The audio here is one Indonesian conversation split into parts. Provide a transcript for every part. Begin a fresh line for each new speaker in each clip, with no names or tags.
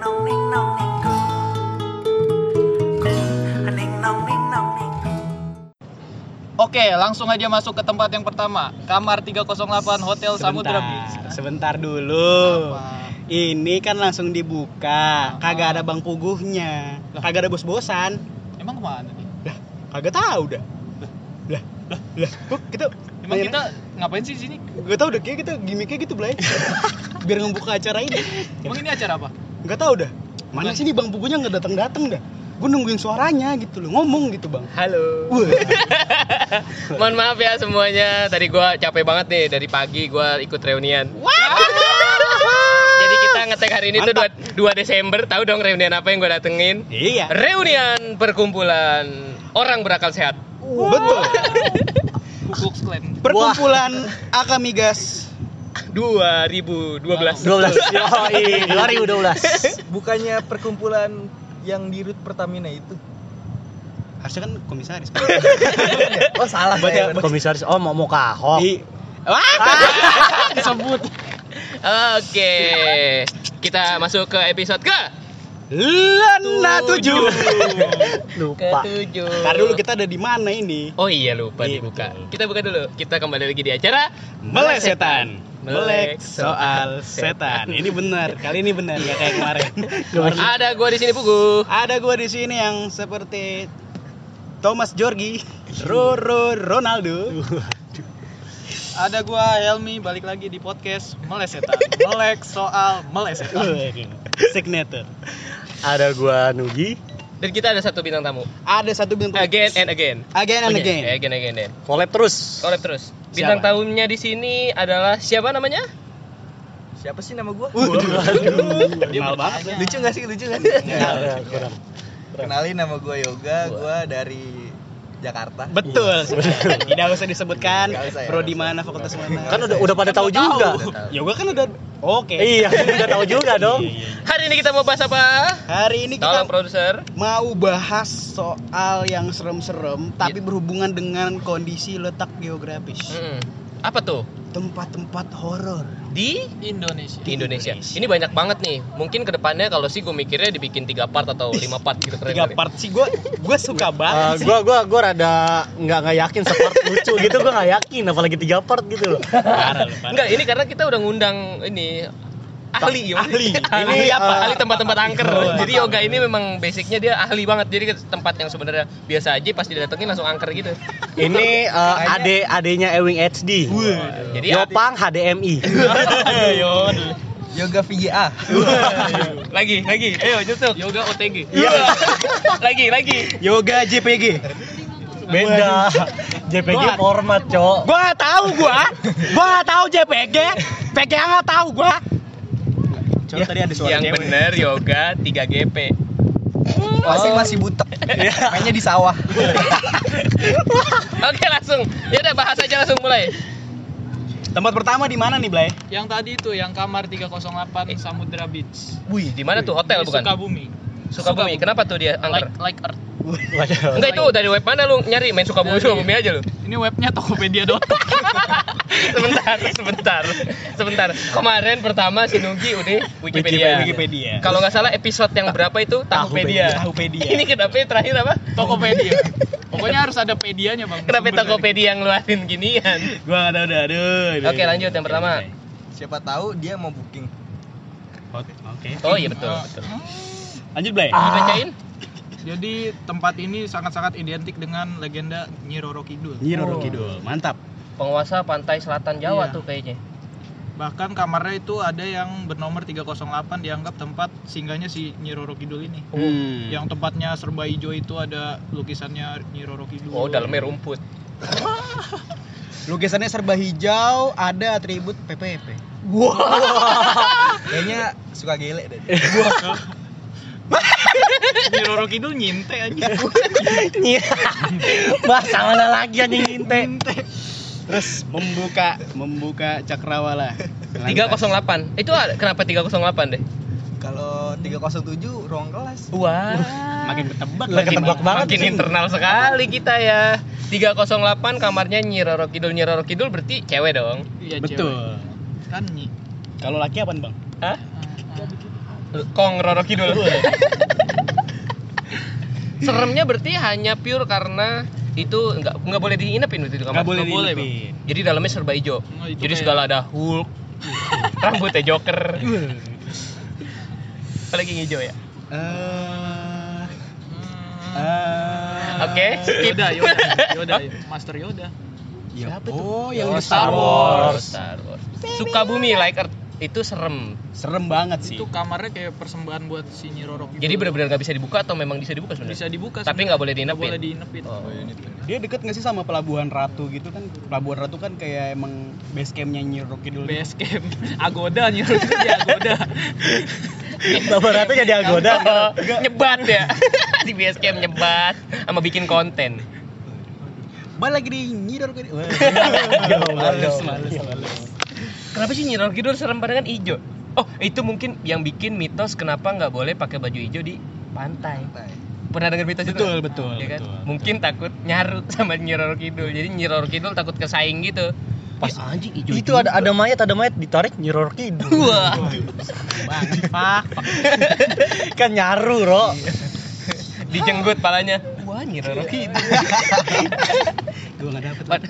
nong ning nong ning go. Go, a ning nong ning nong ning go.
Oke, langsung aja masuk ke tempat yang pertama, kamar 308 Hotel Samudra Beach.
sebentar dulu.
Apa?
Ini kan langsung dibuka,
Ah, ah.
kagak ada bang puguhnya,
Lah.
kagak ada bos-bosan.
Emang kemana nih?
Kagak tahu dah. Lah, lah, lah, kok kita
Emang kita ngapain sih di sini?
Gak tau udah kayak kita gimmicknya gitu belai Biar ngebuka acara ini
Emang ini acara apa?
Gak tau dah Mana sih nih bang puguhnya gak datang-datang dah Gue nungguin suaranya gitu loh, ngomong gitu bang
Halo.
Wah,
Mohon maaf ya semuanya. Tadi gua capek banget nih dari pagi gua ikut reunian.
Ah,
Jadi kita ngetek hari ini
Mantap.
tuh 2, Desember. Tahu dong reunian apa yang gua datengin?
Iya,
Reunian perkumpulan orang berakal sehat.
betul
Kukuk Clan.
Perkumpulan Akamigas
2012.
12 Yoi, 2012
bukannya perkumpulan yang di rut Pertamina itu
Harusnya kan komisaris
oh salah saya
Komisaris oh mau mau kahok
Di-
Disebut.
Oke. Kita masuk ke episode ke
Lana 7
Lupa
tujuh.
Ntar dulu kita ada di mana ini?
Oh iya lupa
Gitu.
dibuka. Kita buka dulu. Kita kembali lagi di acara
Melek setan.
Melek
Melek soal setan. Ini benar, kali ini benar gak kayak kemarin.
Ada gua di sini Pugu.
Ada gua di sini yang seperti Thomas Jorgi, Roro Ronaldo.
Ada gua Helmi balik lagi di podcast Melesetan. Melek soal melesetan.
Signature.
Ada gua Nugi
Dan kita ada satu bintang tamu.
Ada satu bintang
Again and again. Oh iya,
again and again.
Again again. again.
Collab terus
Collab terus. Bintang
Siapa?
tamunya di sini adalah siapa namanya?
siapa sih nama gua
Waduh, kenal banget.
bertanya.
lucu gak sih lucu gak sih
Ya, kurang.
kenalin nama gua Yoga gua dari Jakarta
Betul. Tidak usah disebutkan
Nggak usah ya,
prodi
nggak usah.
mana, fakultas mana.
Kan udah udah pada tahu juga
ya gua kan udah oke. Iya,
Iya udah tahu juga dong
Hari ini kita mau bahas apa?
Hari ini kita
Tolong produser.
mau bahas soal yang serem-serem
Iya.
tapi berhubungan dengan kondisi letak geografis
Mm-mm. Apa tuh?
tempat-tempat horor
Di
Indonesia.
di Indonesia.
Indonesia.
Ini banyak banget nih. Mungkin kedepannya kalau sih gue mikirnya dibikin tiga part atau lima part gitu keren.
tiga
kali. Ah,
part sih gue gue suka
Eh,
banget sih.
gua gua gua rada nggak nggak yakin separt lucu gitu gua nggak yakin apalagi tiga part gitu loh
Parah lu, parah.
Enggak, ini karena kita udah ngundang ini ahli gimana sih?
Ahli.
ahli
Ini apa?
ahli tempat-tempat angker
Oh,
jadi yoga ini memang basicnya dia ahli banget jadi tempat yang sebenarnya biasa aja pas didatengin langsung angker gitu
ini eh, ade adenya Ewing HD
jadi
Yopang HDMI
Yoga VGA
lagi lagi ayo nyusul yoga OTG
Iya.
lagi lagi
yoga JPG
beda JPG format cok
gue tahu gue gue tahu JPG PG nggak tahu Ya. gue Coba tadi ada suara
yang
cewek.
bener yoga 3 GP
masih masih butek
Ya.
mainnya di sawah
oke langsung ya udah bahas aja langsung mulai
Tempat pertama di mana nih, Blay?
Yang tadi itu yang kamar 308 Samudra Beach.
wih di mana tuh hotel
Di
bukan
Sukabumi.
Sukabumi kenapa tuh dia angker
Like like Earth.
Waduh.
enggak itu dari web mana lu nyari main Sukabumi
Dari-
Sukabumi aja lu
Ini webnya tokopedia.com.
sebentar sebentar sebentar kemarin pertama si Nugi udah Wikipedia,
Wikipedia.
kalau nggak salah episode yang berapa itu
Iya.
Tahupedia
Tahupedia.
ini kenapa yang terakhir apa
Tokopedia. Pokoknya harus ada pedianya, Bang.
kenapa
Sumber dari-
Tokopedia yang ngeluarin ginian
Gue nggak tahu dah, aduh.
oke lanjut yang pertama
siapa tahu dia mau booking
Oke. Oke.
oh iya betul betul
Lanjut, Blay.
Ah,
dibacain
Jadi tempat ini sangat-sangat identik dengan legenda Nyi Roro Kidul.
Nyi Iya, Roro Kidul, mantap.
penguasa pantai selatan Jawa
Iya.
tuh kayaknya
Bahkan kamarnya itu ada yang bernomor 308 dianggap tempat singgahnya si Nyi Roro Kidul ini.
Hmm.
Yang tempatnya serba hijau itu ada lukisannya Nyi Roro Kidul.
oh dalamnya rumput
Lukisannya serba hijau, ada atribut PPP.
kayaknya suka gele deh
Nyi Roro Kidul nyinte aja.
Bahasa mana iya. lagi anjing nginte.
Terus membuka membuka cakrawala.
308 itu ada- kenapa 308 deh
kalau 307 ruang kelas
wah
Makin ketebak
Lagi tebak banget
makin
sih.
internal sekali kita ya 308 kamarnya Nyi Roro Kidul Nyi Roro Kidul berarti cewek dong
Iya,
Betul.
cewek. Kan Nyi.
Kalau laki apaan, Bang?
Hah? Kong Roro Kidul. Seremnya berarti hanya pure karena itu nggak nggak boleh diinepin waktu itu kamar.
Nggak boleh
Bang.
diinepin.
Jadi dalamnya serba hijau. ya.
Oh, itu
Jadi
kayak-
segala ada Hulk. rambutnya Joker. Apalagi yang hijau ya.
Eh. Hmm.
Oke, skip.
Yoda, Yoda, Yoda, Ah, Master Yoda.
Ya,
Siapa Oh, yang
Oh,
di
Star
Star
Wars.
Wars.
Star Wars. Sukabumi like Earth itu serem.
Serem banget sih.
Itu kamarnya kayak persembahan buat si Nyi Roro Kidul.
Jadi
Gitu.
benar-benar nggak bisa dibuka atau memang bisa dibuka sebenarnya?
bisa dibuka
Iya. Tapi
sebenarnya.
nggak boleh diinepin.
Nggak boleh diinepin.
Oh.
Dia deket gak sih sama Pelabuhan Ratu gitu kan? Pelabuhan Ratu kan kayak emang base campnya Nyi gitu. Rocky dulu.
Base camp Agoda Nyi Roro Kidul di Agoda.
Bapak Ratu jadi agoda.
Oh, nyebat ya. Di basecamp nyebat sama bikin konten.
Balik lagi di Nyi Rocky Dulu.
Ya Males, males.
Kenapa sih Nyi Roro Kidul serem padahal kan ijo? Oh, itu mungkin yang bikin mitos kenapa nggak boleh pakai baju ijo di pantai. Pernah dengar mitos itu?
Betul, betul,
Iya kan?
betul.
Mungkin takut nyarut sama Nyi Roro Kidul. Jadi Nyi Roro Kidul takut kesaing gitu. Pas anjing ijo.
Itu ada ada mayat, ada mayat ditarik nyiror kidul.
Wah,
Kan nyaru, Ro.
Iya,
dijenggut palanya. Wah, Nyi Roro Kidul.
Gue gak dapet.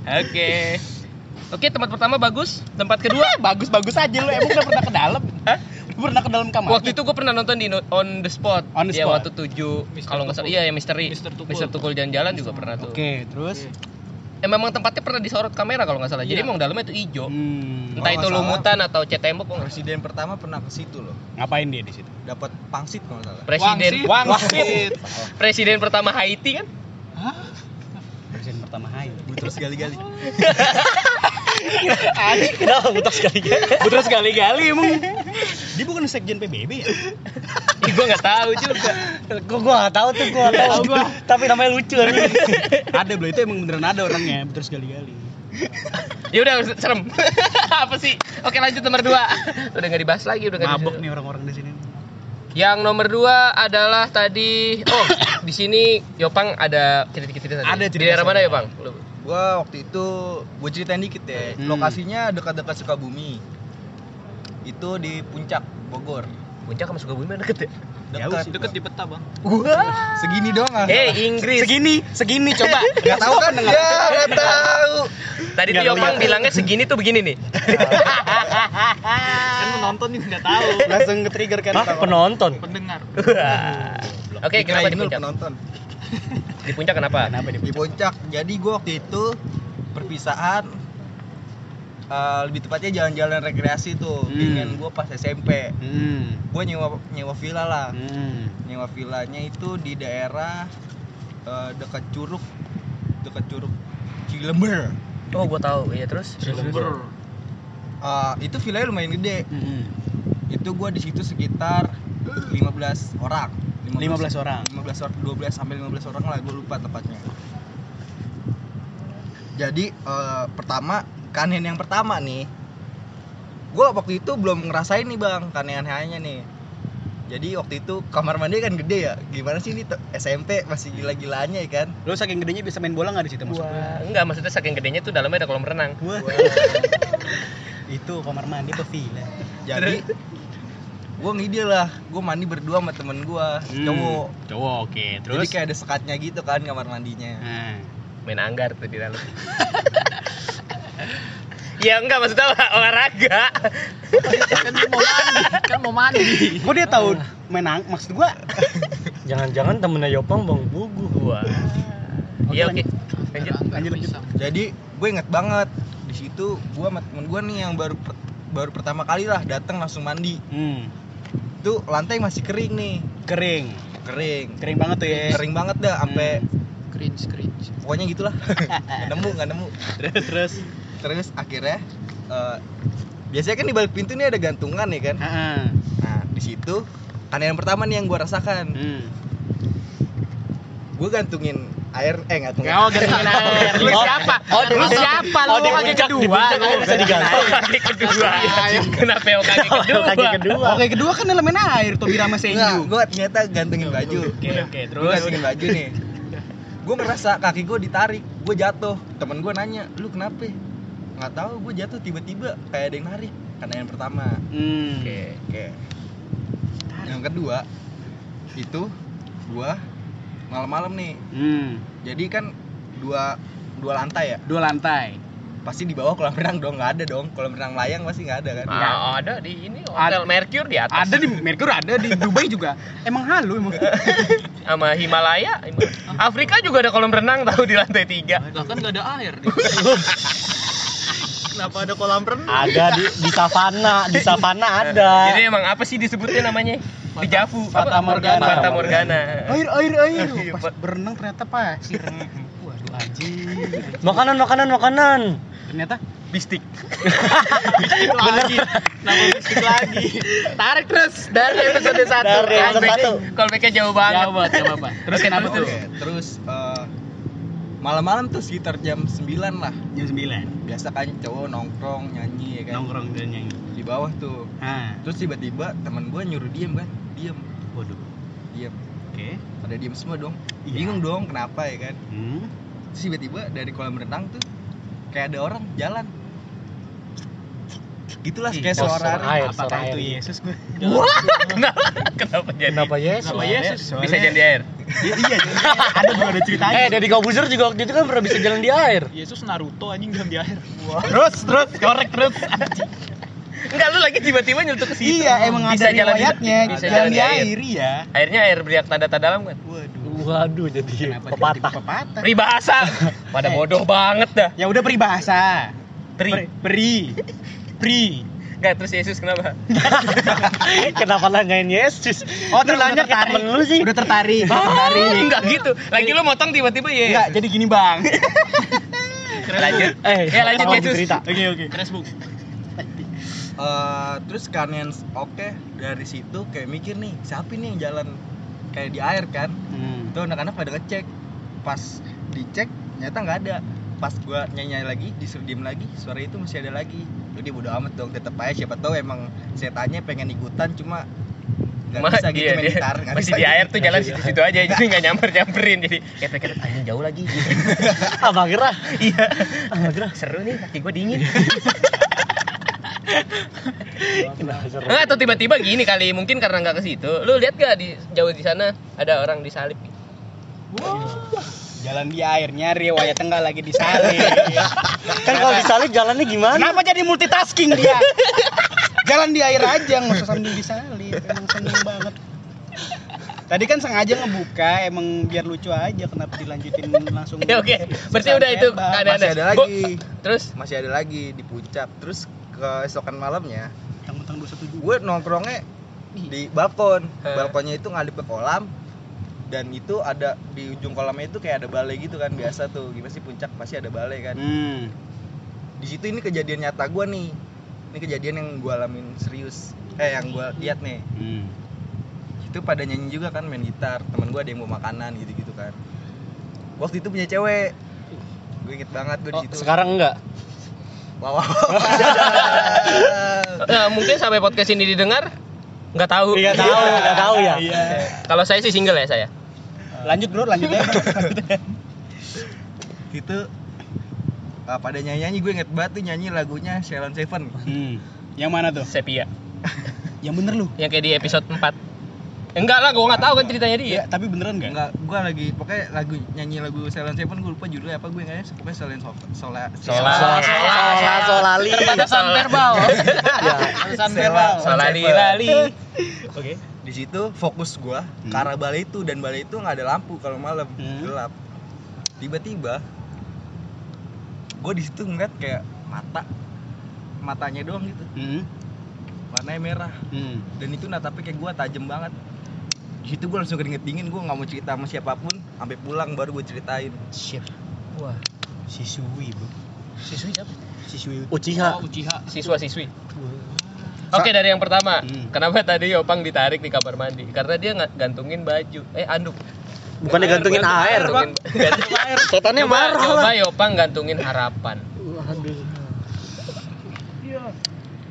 Oke. Oke, tempat pertama bagus, tempat kedua bagus-bagus aja lu. Emang udah pernah ke dalam? Hah?
Gue pernah ke dalam kamar.
Waktu itu gue pernah nonton di No- On The Spot.
On the
ya,
Spot.
waktu tujuh
Mr.
kalau nggak salah
Tukul.
iya ya misteri.
Mr. Tukul.
jalan-jalan juga pernah tuh.
Oke, terus.
Eh, memang tempatnya pernah disorot kamera kalau nggak salah.
Iya.
Jadi emang dalamnya itu hijau.
Hmm. Kalau
Entah itu
nggak salah,
lumutan atau cat tembok gua nggak tahu.
Presiden pertama pernah ke situ loh.
Ngapain dia di situ?
Dapat pangsit kalau nggak salah.
Wangsit.
Presiden Wangsit. Presiden pertama Haiti kan?
Presiden pertama Hai. Gue terus gali-gali.
Kenapa buta sekali
Terus gali-gali emang.
Dia bukan sekjen PBB ya?
Ih, gua nggak tahu juga.
Kok gua gak tahu tuh, gua nggak tahu. Tapi namanya lucu kan. anjing.
ada bro, itu emang beneran ada orangnya. Terus gali-gali.
Ya udah serem. Apa sih? Oke, lanjut nomor dua Udah nggak dibahas lagi, udah nggak
Mabok
dibahas.
nih orang-orang di sini.
Yang nomor dua adalah tadi oh di sini Yopang ada cerita-cerita tadi.
Ada
Di
cerita
daerah mana
saya.
Yopang? Lu-
Gua waktu itu gue ceritain dikit ya.
Hmm.
Lokasinya dekat-dekat Sukabumi. Itu di puncak Bogor.
Puncak sama Sukabumi mana deket ya?
Jauh
Dekat
sih, deket di peta, Bang.
segini doang. ah.
Eh Inggris.
Segini, segini coba. Iya,
Nggak tahu kan? Ya, nggak tahu.
Tadi tuh Yopang bilangnya segini tuh begini nih.
Kan penonton nih nggak tahu.
Langsung nge-trigger kan.
Hah, penonton.
Pendengar.
Wah. Oke, kenapa di
Dikirain lu
puncak?
penonton.
Di puncak kenapa?
Di puncak. Jadi gue waktu itu perpisahan eh, lebih tepatnya jalan-jalan rekreasi tuh
Hmm.
dengan gue pas SMP
Hmm.
gue nyewa nyewa villa lah
Hmm.
nyewa villanya itu di daerah eh, dekat curug dekat curug Cilember
Oh, gua tahu. Iya, terus.
Sumber.
Eh, itu villanya lumayan gede
Hmm.
itu gua di situ sekitar 15 orang
15 orang.
15 orang 12 sampai 15 orang lah gue lupa tepatnya jadi eh, pertama kanen yang pertama nih gua waktu itu belum ngerasain nih bang kanehan hanya nih jadi waktu itu kamar mandi kan gede ya gimana sih ini te- SMP masih gila-gilanya ya kan
Lu saking gedenya bisa main bola enggak di situ maksud
Wah, enggak maksudnya saking gedenya tuh dalamnya ada kolam renang.
gua? Itu kamar mandi apa villa?
jadi gue ngide lah gue mandi berdua sama temen gua
Hmm.
cowok
Cowok, oke.
jadi kayak ada sekatnya gitu kan kamar mandinya
Nah.
Main anggar tuh di dalam. ya enggak maksudnya olah- olahraga.
Kan dia mau mandi, kan mau mandi.
Kok dia tahu main ang- maksud gua? Jangan-jangan temennya Yopang Bang Bugu gua.
Iya, oke. Lanjut.
Lanjut lanjut.
jadi gue inget banget di situ gue sama temen gue nih yang baru per- baru pertama kali lah datang langsung mandi
Hmm.
tuh lantai masih kering nih
Kering.
kering
Kering banget tuh ya.
kering banget dah sampai
Cringe, cringe.
pokoknya gitulah nggak nemu nggak nemu
Terus
terus akhirnya eh, biasanya kan di balik pintu nih ada gantungan ya kan
Heeh.
nah di situ karena yang pertama nih yang gue rasakan
Hmm.
gue gantungin air eh gantungin
Ya,
Kau gantungin air. Lu
Oh.
siapa?
Oh, dulu
Lu siapa? Lu
Oh, di
kaki
puncak- di
kedua.
puncak air bisa digantung.
Kaki kedua. Iya, Kenapa yang kaki kedua?
Kaki kedua.
Oke, kedua kan elemen air tuh Bira sama
Enggak,
Senju.
gue ternyata gantengin baju
Oke, oke.
gue gantengin baju nih gue ngerasa kaki gue ditarik gue jatuh temen gue nanya lu kenapa nggak tahu gue jatuh tiba-tiba kayak ada yang narik karena yang Kan pertama
Hmm.
Oke.
oke
yang kedua itu gua malam-malam nih
Hmm,
jadi kan dua dua lantai ya
dua lantai.
pasti di bawah kolam renang dong nggak ada dong kolam renang layang pasti nggak ada kan
Ah, ada di ini hotel
Ada.
Mercure di atas.
Ada di Merkur, ada di Dubai juga. Emang halu emang.
sama Himalaya. Himalaya. Afrika juga ada kolam renang tahu di lantai tiga.
Lah kan nggak ada air. Di. Kenapa ada kolam renang?
Ada di, di savana, di savana ada.
Jadi emang apa sih disebutnya namanya? Di Javu.
Fata
Apa?
Morgana.
Fata Morgana. Iya,
Air, air, air. Pas
Pak.
berenang ternyata pasir. Waduh anjing.
Makanan, makanan, makanan.
Ternyata
Bistik.
Itu lagi. Nama bisik lagi.
Tarik terus dari episode 1.
Dari episode satu.
Callbacknya jauh banget.
jawab, jawab. Pak. Terus
Oke,
kenapa
terus
tuh?
Oke, terus eh, malam-malam tuh sekitar jam 9 lah
Jam 9
biasa kan cowok nongkrong nyanyi ya kan
nongkrong dan nyanyi.
di bawah tuh
Ah,
terus tiba-tiba teman gua nyuruh diem kan diem
waduh.
diem
Oke.
pada diem semua dong
Iya.
bingung dong kenapa ya kan
Hmm.
terus tiba-tiba dari kolam renang tuh kayak ada orang jalan gitulah
Bos,
kayak suara
suara air, suara
Apakah
air.
itu ya? Yesus gue?
Kenapa? Kenapa jadi?
Kenapa Yesus?
Kenapa Yesus?
Bisa
Soalnya-
jadi air.
Iya, iya jadi-
Ada gue ada ceritanya.
Eh, Deddy Kobuzer juga waktu itu kan pernah bisa jalan di air.
Yesus Naruto anjing dalam di air. Wah.
Terus, terus, korek terus.
Enggak lu lagi tiba-tiba nyentuh ke situ.
Iya, emang
bisa
ada
jalan di-
riwayatnya.
Bisa
Jalan di air,
air.
iya.
Airnya air beriak tanda-tanda dalam kan?
Waduh.
Waduh, jadi
Kenapa
pepatah.
jadi Pepatah.
Peribahasa. Pada bodoh banget dah.
Ya udah peribahasa.
Tri.
Peri. Pri.
Enggak terus Yesus kenapa?
Eh, Kenapa nanyain Yesus?
Oh,
Lu
tertanya
nanya ke
tarik.
temen lu sih.
Udah tertarik, tertarik.
Enggak gitu. Lagi lu motong tiba-tiba ya.
Enggak, jadi gini, Bang.
Lanjut.
Eh,
ya lanjut
tolong
Yesus.
cerita.
Oke, oke.
Keras bung.
Eh, terus karena oke dari situ kayak mikir nih siapa nih yang jalan kayak di air kan
Hmm.
itu anak-anak pada ngecek pas dicek ternyata nggak ada pas gua nyanyi lagi disuruh diem lagi suara itu masih ada lagi jadi bodo amat dong tetep aja siapa tahu emang setannya pengen ikutan cuma nggak
Cuma
bisa gitu
iya,
main
dia
gitar nggak
masih
bisa
di air
gitu.
tuh jalan situ-situ aja jadi nggak nyamper nyamperin jadi kayak pikir anjing jauh lagi
Apa gerah?
iya
Apa gerah?
seru nih kaki gue dingin
Kenapa seru?
Enggak atau tiba-tiba gini kali mungkin karena nggak ke situ lu lihat gak di jauh di sana ada orang disalib
Jalan di airnya riwayat enggak lagi disalib.
Kan kalau disalib jalannya gimana?
Kenapa jadi multitasking dia? Jalan di air aja nggak usah sambil disalib. Emang seneng banget. Tadi kan sengaja ngebuka, emang biar lucu aja. Kenapa dilanjutin langsung?
ya oke berarti
Susah
udah itu
tembak.
nggak
masih ada
Bu,
lagi
terus
masih ada lagi di puncak terus keesokan malamnya
Tentang dua satu
gue nongkrongnya di balkon
Heh.
balkonnya itu ngadep ke kolam dan itu ada di ujung kolamnya itu kayak ada balai gitu kan biasa tuh gimana sih puncak pasti ada balai kan
Hmm.
di situ ini kejadian nyata gue nih ini kejadian yang gue alamin serius eh yang gue lihat nih
Hmm.
itu pada nyanyi juga kan main gitar teman gue ada yang mau makanan gitu gitu kan waktu itu punya cewek gue inget banget gue di situ
Oh, Sekarang enggak.
wow, wow.
eh, mungkin sampai podcast ini didengar nggak tahu
Iya,
Iya.
Enggak Iya, tahu, enggak tahu ya.
kalau saya sih single ya saya
Lanjut bro, lanjut ya. aja. Bro.
itu ah, pada nyanyi nyanyi gue inget banget tuh nyanyi lagunya Sheldon Seven
Hmm. Yang mana tuh?
sepia
Yang bener lu.
yang kayak di episode 4 enggak lah gue nggak tahu kan ceritanya dia
Iya, tapi beneran enggak?
Enggak, gue lagi pokoknya lagu nyanyi lagu Silent Seven gue lupa judulnya apa gue kayaknya pokoknya Silent Seven Sola
Sola-
Soal soal solali.
Terbatasan verbal.
Ya.
Alasan
Sela-
verbal.
Salali lali. Oke.
di situ fokus gue ke arah balai itu dan balai itu nggak ada lampu kalau malam
Hmm.
gelap tiba-tiba gue di situ ngeliat kayak mata matanya doang gitu
Hmm.
warnanya merah
Hmm.
dan itu natapnya kayak gue tajem banget di situ gue langsung keringet dingin gue nggak mau cerita sama siapapun sampai pulang baru gue ceritain
Shit.
Wah,
Si Sui, Bro.
siswi siapa?
Si Sui.
Uchiha.
Uchiha.
Siswa-siswi. Oke, dari yang pertama.
Hmm.
Kenapa tadi Opang ditarik di kamar mandi? Karena dia nggak gantungin baju. Eh, anduk.
Bukannya gantungin air.
Gantungin- gantungin-
Setannya
coba,
marah
coba
lah.
Yopang gantungin harapan.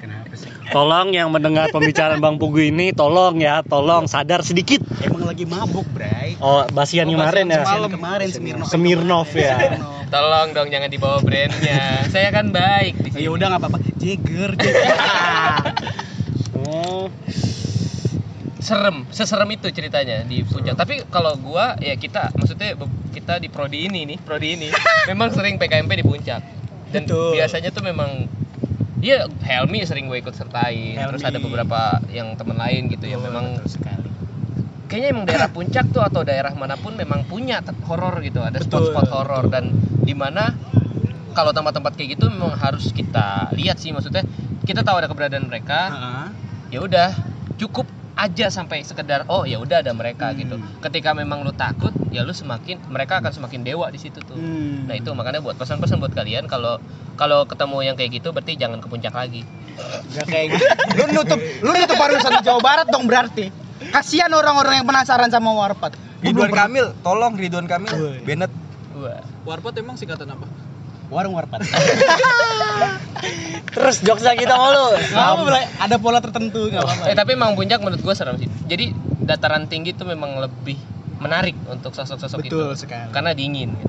Kenapa sih?
Tolong yang mendengar pembicaraan Bang Pugu ini, tolong ya, tolong sadar sedikit.
Emang lagi mabuk, Bray.
Oh, basian
Oh,
kemarin ya.
Basian
Malam kemarin Semirnov.
Semirnov ya.
Semirnov.
Tolong dong jangan dibawa brandnya. Saya kan baik di
Oh,
sini.
ya udah nggak apa-apa. Jagger, Jagger.
Oh,
serem seserem itu ceritanya di puncak tapi kalau gua ya kita maksudnya be- kita di prodi ini nih prodi ini memang sering PKMP di puncak dan
Betul.
biasanya tuh memang Iya, Helmi sering gue ikut sertain. Terus
Helmi. Oh,
ada beberapa yang teman lain gitu yang memang kayaknya emang daerah puncak tuh atau daerah manapun memang punya te- horor gitu ada
Betul.
spot-spot horor dan di mana kalau tempat-tempat kayak gitu memang harus kita lihat sih maksudnya kita tahu ada keberadaan mereka
Heeh.
ya udah cukup aja sampai sekedar oh ya udah ada mereka
Hmm.
gitu ketika memang lu takut ya lu semakin mereka akan semakin dewa di situ tuh
Hmm.
nah itu makanya buat pesan-pesan buat kalian kalau kalau ketemu yang kayak gitu berarti jangan ke puncak lagi
Gak kayak gitu. Lu nutup, lu nutup pariwisata Jawa Barat dong berarti. Kasihan orang-orang yang penasaran sama warpat. Gua belum
Ridwan
pernah-
Kamil, tolong Ridwan Kamil,
Woi.
Bennett.
Wah.
Warpot emang singkatan apa?
Warung warpat.
Terus jokesnya kita mulu.
Gak apa ada pola tertentu nggak apa-apa.
Eh tapi emang puncak menurut gue serem sih. Jadi dataran tinggi itu memang lebih menarik untuk sosok-sosok itu.
Betul sekali.
Karena dingin. gitu.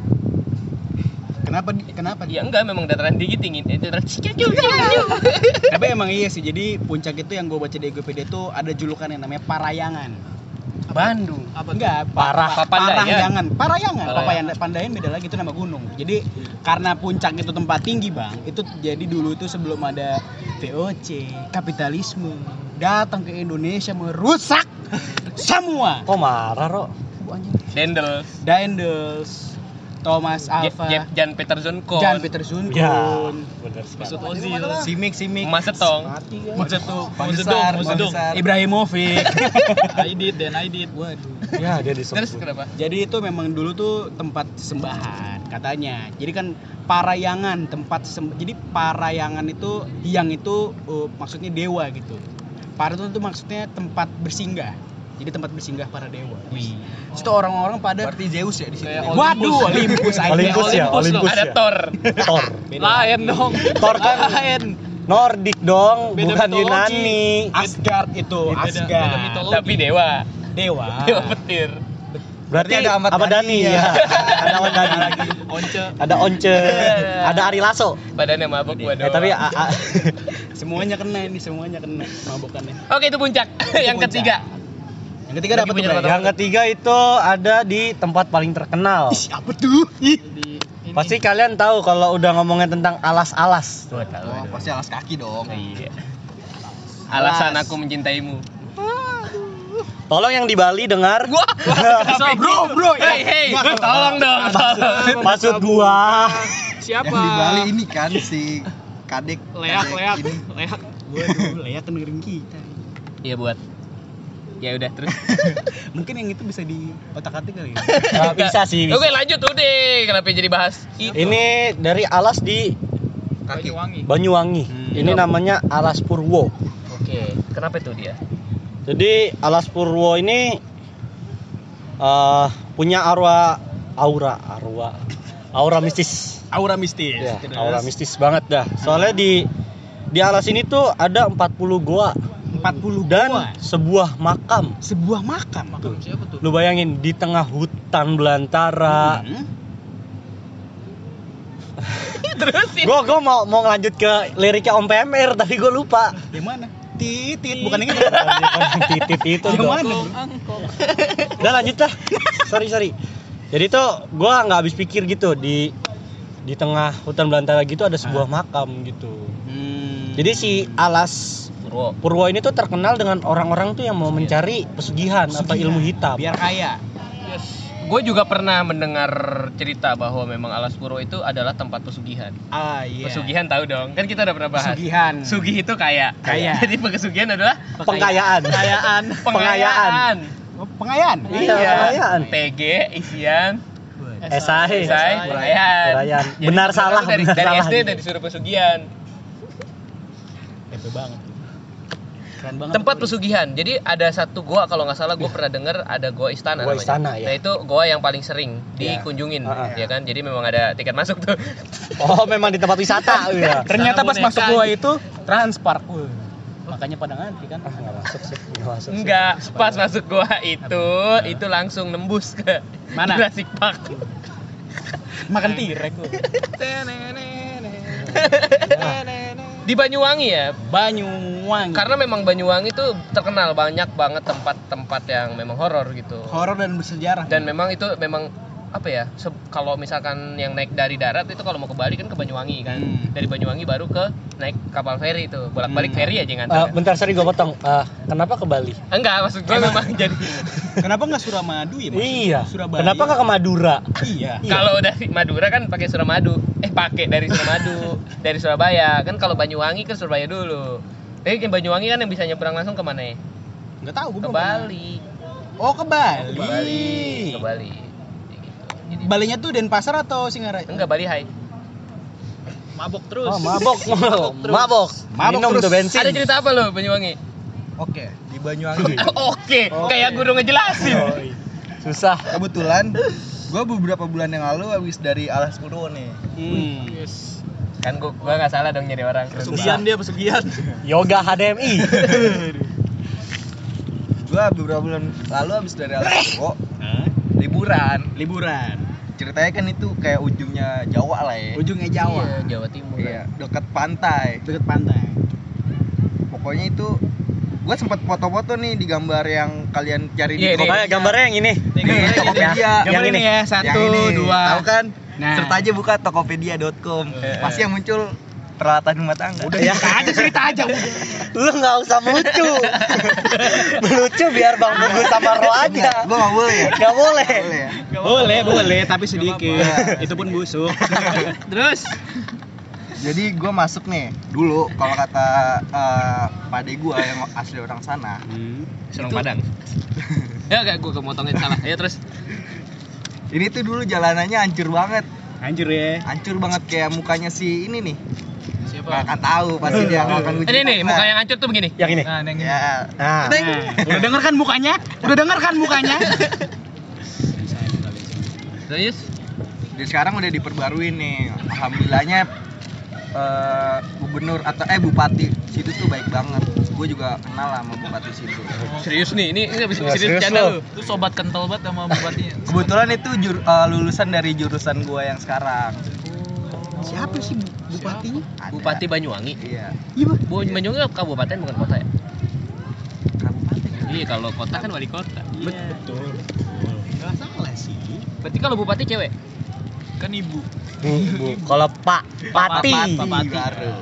Kenapa di- kenapa?
Ya enggak memang dataran tinggi dingin. Eh, dataran Ciu-ciu-ciu-ciu.
Tapi emang iya sih. Jadi puncak itu yang gue baca di Wikipedia itu ada julukan yang namanya Parayangan.
Bandung.
Apa tuh?
Enggak,
Parah.
Papandayan.
Parayangan. Parayangan.
Parayangan.
Papayan- Pandayan beda lagi itu nama gunung. Jadi karena puncak itu tempat tinggi, Bang. Itu jadi dulu itu sebelum ada VOC, kapitalisme datang ke Indonesia merusak semua.
Kok marah, Ro?
Dendel.
Daendels, Thomas Alva,
Jan- Jan Peterson Kohn.
Jan Peter Zunkun.
Ya, bener sekali.
Maksud Ozil.
Simik, Simik.
Mas Setong.
Mati ya.
Maksud tuh,
Pangdesar,
Maksud
Pangdesar.
Ibrahimovic.
I did then I did.
Waduh.
Ya, dia disebut.
Terus kenapa?
Jadi itu memang dulu tuh tempat sembahan katanya. Jadi kan parayangan tempat sem- jadi parayangan itu yang itu uh, maksudnya dewa gitu. Para itu tuh maksudnya tempat bersinggah. Jadi tempat bersinggah para dewa. Wih. Itu orang-orang pada
Berarti Zeus ya di situ.
Kayak
ya?
Waduh, Olympus aja.
Olympus ya,
Olympus
Olympus
Ada
ya.
Thor.
Thor.
Lain dong.
Thor kan
Lain.
Nordik dong,
Beda
bukan
mitologi.
Yunani.
Asgard itu,
Beda-
Asgard.
beda mitologi.
Ah, Tapi dewa.
Dewa.
Dewa petir.
Berarti
Berarti ada
ada
Ahmad
Ahmad Dhani
Dhani,
ya. Ada Ahmad Dhani.
Once.
Ada
Iya,
Once, ada Ari Lasso.
Badannya mabuk gua
Eh,
doang.
tapi a- a-
Semuanya kena ini, semuanya kena mabokannya.
Oke itu puncak. yang
puncak.
ketiga.
Yang ketiga
Lagi
dapat
punya
tuh, Bray.
dapat
yang ketiga itu ada di tempat paling terkenal.
Ih, apa tuh? Ih.
Di ini.
Pasti kalian tahu kalau udah ngomongin tentang alas-alas.
Gua tahu.
iya.
Oh, pasti alas kaki dong.
Iya. Alasan aku mencintaimu.
Tolong yang di Bali dengar.
Gua.
Bro, bro.
Hey, hey, tolong dong. tolong.
Maksud gua.
Siapa?
Yang di Bali ini kan si kadek
Leak,
kadek
leak,
ini.
leak.
Waduh, layak dengerin kita.
Iya buat. Ya udah terus.
Mungkin yang itu bisa di otak-atik kali ya.
Nggak bisa sih. bisa.
Oke, lanjut udah. Kenapa jadi bahas?
Ini dari alas di
Kaki.
Banyuwangi.
Banyuwangi. Ini namanya alas Purwo.
Oke, kenapa itu dia?
Jadi alas Purwo ini eh punya aura aura aura aura mistis.
Aura mistis.
Ya,
Terus.
aura mistis banget dah. Soalnya di di alas ini tuh ada 40 goa
40
dan
goa.
sebuah makam.
sebuah makam.
Makam siapa tuh?
Lu bayangin di tengah hutan belantara.
Hmm.
Terusin.
Gua gua mau mau lanjut ke liriknya Om PMR tapi gua lupa.
Yang mana? Titit, bukan ini.
Titit itu.
Yang
gua.
mana?
Udah lanjut lah. sorry sorry. Jadi tuh gua nggak habis pikir gitu di di tengah hutan belantara gitu ada sebuah
Ah.
makam gitu.
Hmm.
Jadi si Alas
Purwo.
Purwo ini tuh terkenal dengan orang-orang tuh yang mau mencari pesugihan, atau ilmu hitam.
Iya. biar kaya.
Gue juga pernah mendengar cerita bahwa memang Alas Purwo itu adalah tempat pesugihan.
Ah, iya.
Pesugihan tahu dong, kan kita udah pernah bahas.
Pesugihan.
Sugih itu kaya.
Kaya.
Jadi pesugihan adalah
Pengkayaan.
Pengayaan.
pengayaan.
Oh, Pengayaan.
Iya, pengayaan.
TG, isian,
Esai.
Selesai, uraian.
Uraian.
Jadi
Iya.
sebenarnya
Benar salah,
lu dari,
benar
dari
salah.
SD dari disuruh pesugihan.
Hepe banget. Keren banget.
Tempat pesugihan. Jadi ada satu goa kalau nggak salah gue pernah dengar ada goa istana.
Iya. Goa
namanya.
istana, ya.
Nah itu goa yang paling sering
Ya.
dikunjungin,
Ah, ah.
ya kan? Jadi memang ada tiket masuk tuh.
Oh, memang di tempat wisata. Iya.
Ternyata pas
Boneka.
masuk gua
gitu.
itu Transpark. Wih. Makanya pada ngantri kan.
Ah, nggak masuk sih, nggak masuk sih.
Enggak, pas masuk goa itu itu langsung nembus ke
Mana?
Jurassic Park.
Makan tirek gua.
Nah,
Di Banyuwangi ya.
Banyuwangi.
Karena memang Banyuwangi tuh terkenal banyak banget tempat-tempat yang memang horor gitu.
horor dan bersejarah.
Dan memang itu memang apa ya? se- Kalau misalkan yang naik dari darat itu kalau mau ke Bali kan ke Banyuwangi kan.
Hmm.
Dari Banyuwangi baru ke naik kapal feri itu. Bolak-balik
Hmm.
feri aja ngantar.
Eh, bentar sorry gue potong. Eh, kenapa ke Bali?
Enggak, maksud gue memang jadi
Kenapa nggak Suramadu ya? Mas?
Iya.
Surabaya.
Kenapa nggak ke Madura?
Iya.
Iya.
kalau dari Madura kan pakai Suramadu. Eh pakai dari Suramadu, dari Surabaya. Kan kalau Banyuwangi ke Surabaya dulu. Tapi yang Banyuwangi kan yang bisa nyebrang langsung ke mana ya?
Nggak tahu gue
Ke
belum
Bali.
pernah. Oh ke Bali.
Ke Bali. Ke Bali. Ya gitu. Jadi-
Balinya tuh Denpasar atau Singaraja?
Enggak Bali Hai.
mabok terus
Oh, mabok, mabok,
terus.
mabok.
Mabok
Minum
terus.
tuh bensin.
Ada cerita apa lo Banyuwangi?
Oke, di Banyuwangi
Oke, kayak guru ngejelasin.
Yoi. Susah.
kebetulan gue beberapa bulan yang lalu habis dari alas purwo nih.
Hmm.
Yes.
Kan gua gua enggak salah dong nyari orang. Iya,
Pesugihan dia pesugihan.
Yoga HDMI.
Gue beberapa bulan lalu habis dari alas purwo liburan.
Liburan.
Ceritanya kan itu kayak ujungnya Jawa lah ya.
Ujungnya
Jawa.
Jawa.
Iya, Jawa Timur.
Iya, dekat pantai.
Deket pantai.
Pokoknya itu gue sempat foto-foto nih di gambar yang kalian cari
Iya, nih.
di
Pokoknya gambarnya yang ini.
Ini Tokopedia.
Yang ini.
ya
Yang ini. Tahu kan?
Nah. Iya.
Serta aja buka tokopedia.com. Pasti yang muncul peralatan rumah tangga.
Udah ya. aja cerita aja. udah.
Lu nggak usah melucu. melucu biar Bang Begu sama Ro aja.
Gue gak boleh ya?
Nggak boleh.
Boleh ya?
Boleh, boleh, tapi sedikit.
apa-apa.
Itu pun busuk.
Terus
Jadi gue masuk nih dulu kalau kata eh, pade gue yang asli orang sana.
Hmm.
Serang Padang. ya enggak gua kemotongin salah. Ya terus
Ini tuh dulu jalanannya hancur banget,
Anjir ya.
hancur banget kayak mukanya si ini nih.
Nah,
Nggak
Siapa?
akan tahu pasti dia nggak akan
ini nih muka yang hancur tuh begini.
Yang ini.
Nah, neng
Ya.
Nah.
Nah, udah denger kan mukanya? Udah denger kan mukanya?
Terus
Jadi sekarang udah diperbarui nih. Alhamdulillahnya eh, gubernur atau eh bupati situ tuh baik banget. Gue juga kenal lah sama bupati situ.
serius nih, ini ini habis
Wah,
serius
serius lo.
channel.
itu sobat kental banget sama bupatinya.
Kebetulan itu jur- eh, lulusan dari jurusan gue yang sekarang.
Siapa sih bupatinya?
Ada.
Bupati Banyuwangi.
Iya.
Iya, Bang.
Bu Banyuwangi kabupaten bukan kota ya?
Kabupaten.
Iya, kalau kota kan wali kota.
Betul. Enggak salah sih.
Berarti kalau bupati cewek?
Kan ibu.
Bu, kalau Pak Pati.
Bupati baru.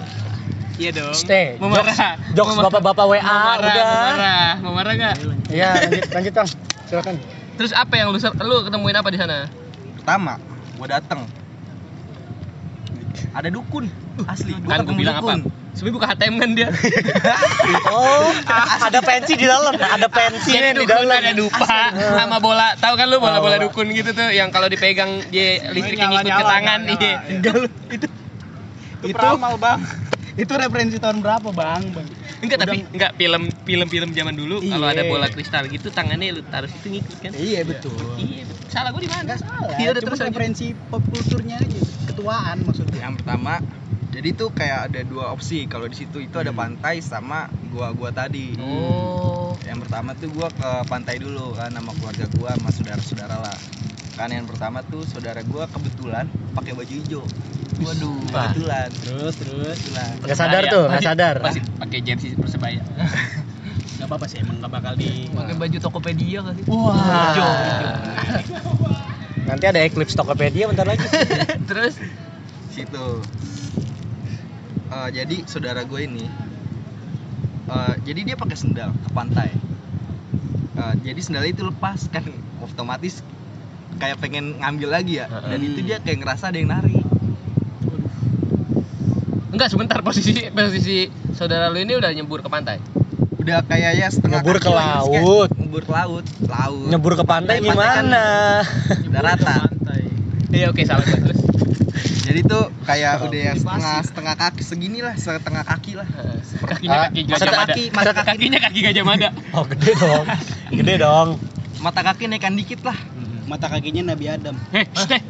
Iya dong.
Stay.
Mau marah.
Jokes
Mau-
bapak-bapak WA
mau marah,
udah.
Mau marah, mau marah nggak?
Iya, lanjut lanjut Bang. Silakan.
Terus apa yang lu ser- lu ketemuin apa di sana?
Pertama, gue dateng. Ada dukun asli.
Kan
gua
gue bilang apa? Sebenernya buka HTM kan dia.
Oh, ada pensi di dalam, ada pensi
Jadi
di
dukun
dalam.
Iya, ada dupa sama bola. Tahu kan lu bola-bola
Tahu.
dukun gitu tuh yang kalau dipegang dia listriknya ngikut ke
nyala-nyala,
tangan.
nyala-nyala.
Iya.
Itu ramal, Bang. Itu referensi tahun berapa, Bang? Bang.
Enggak tapi enggak film film-film zaman dulu kalau
Iya.
ada bola kristal gitu tangannya lu taruh situ ngikut kan.
Iya, betul.
Iya, betul. salah gue di mana?
Enggak salah.
Iya, udah
Cuma
terus lanjut.
referensi pop kulturnya aja, ketuaan maksudnya.
Yang pertama, jadi tuh kayak ada dua opsi kalau di situ itu ada pantai sama gua-gua tadi.
Oh.
Yang pertama tuh gua ke pantai dulu kan sama keluarga gua sama saudara-saudara lah. Kan yang pertama tuh saudara gua kebetulan pakai baju hijau. Waduh,
Ah.
kebetulan.
Terus, terus.
Kebetulan.
Nggak sadar tuh, nggak sadar.
Masih pakai jersey Persebaya.
Enggak apa-apa sih, emang enggak bakal di
Pakai baju Tokopedia kali.
Wah.
Hijau.
Nanti ada Eclipse Tokopedia bentar lagi.
Terus
situ Eh, jadi saudara gue ini eh, jadi dia pakai sendal ke pantai Eh, jadi sendalnya itu lepas kan otomatis kayak pengen ngambil lagi ya dan
Heeh.
itu dia kayak ngerasa ada yang nari
enggak sebentar posisi posisi saudara lu ini udah nyembur ke pantai.
udah kayak ya setengah
Nyebur ke
kaki lah, terus kayak
laut.
nyebur ke laut laut
Nyebur ke pantai
Pantai kan-
gimana?
daratan
Iya oke salah gue terus.
jadi tuh kayak udah yang setengah setengah kaki segini lah setengah kaki lah
Eh, Kakinya kaki
Ah,
gajah
masa
mada.
kaki- masa kaki-
kakinya kaki gajah mada.
Oh, gede dong. Gede dong.
mata kaki naikan dikit lah
mata kakinya Nabi Adam.
Heh, Eh, shh, teh. Ah.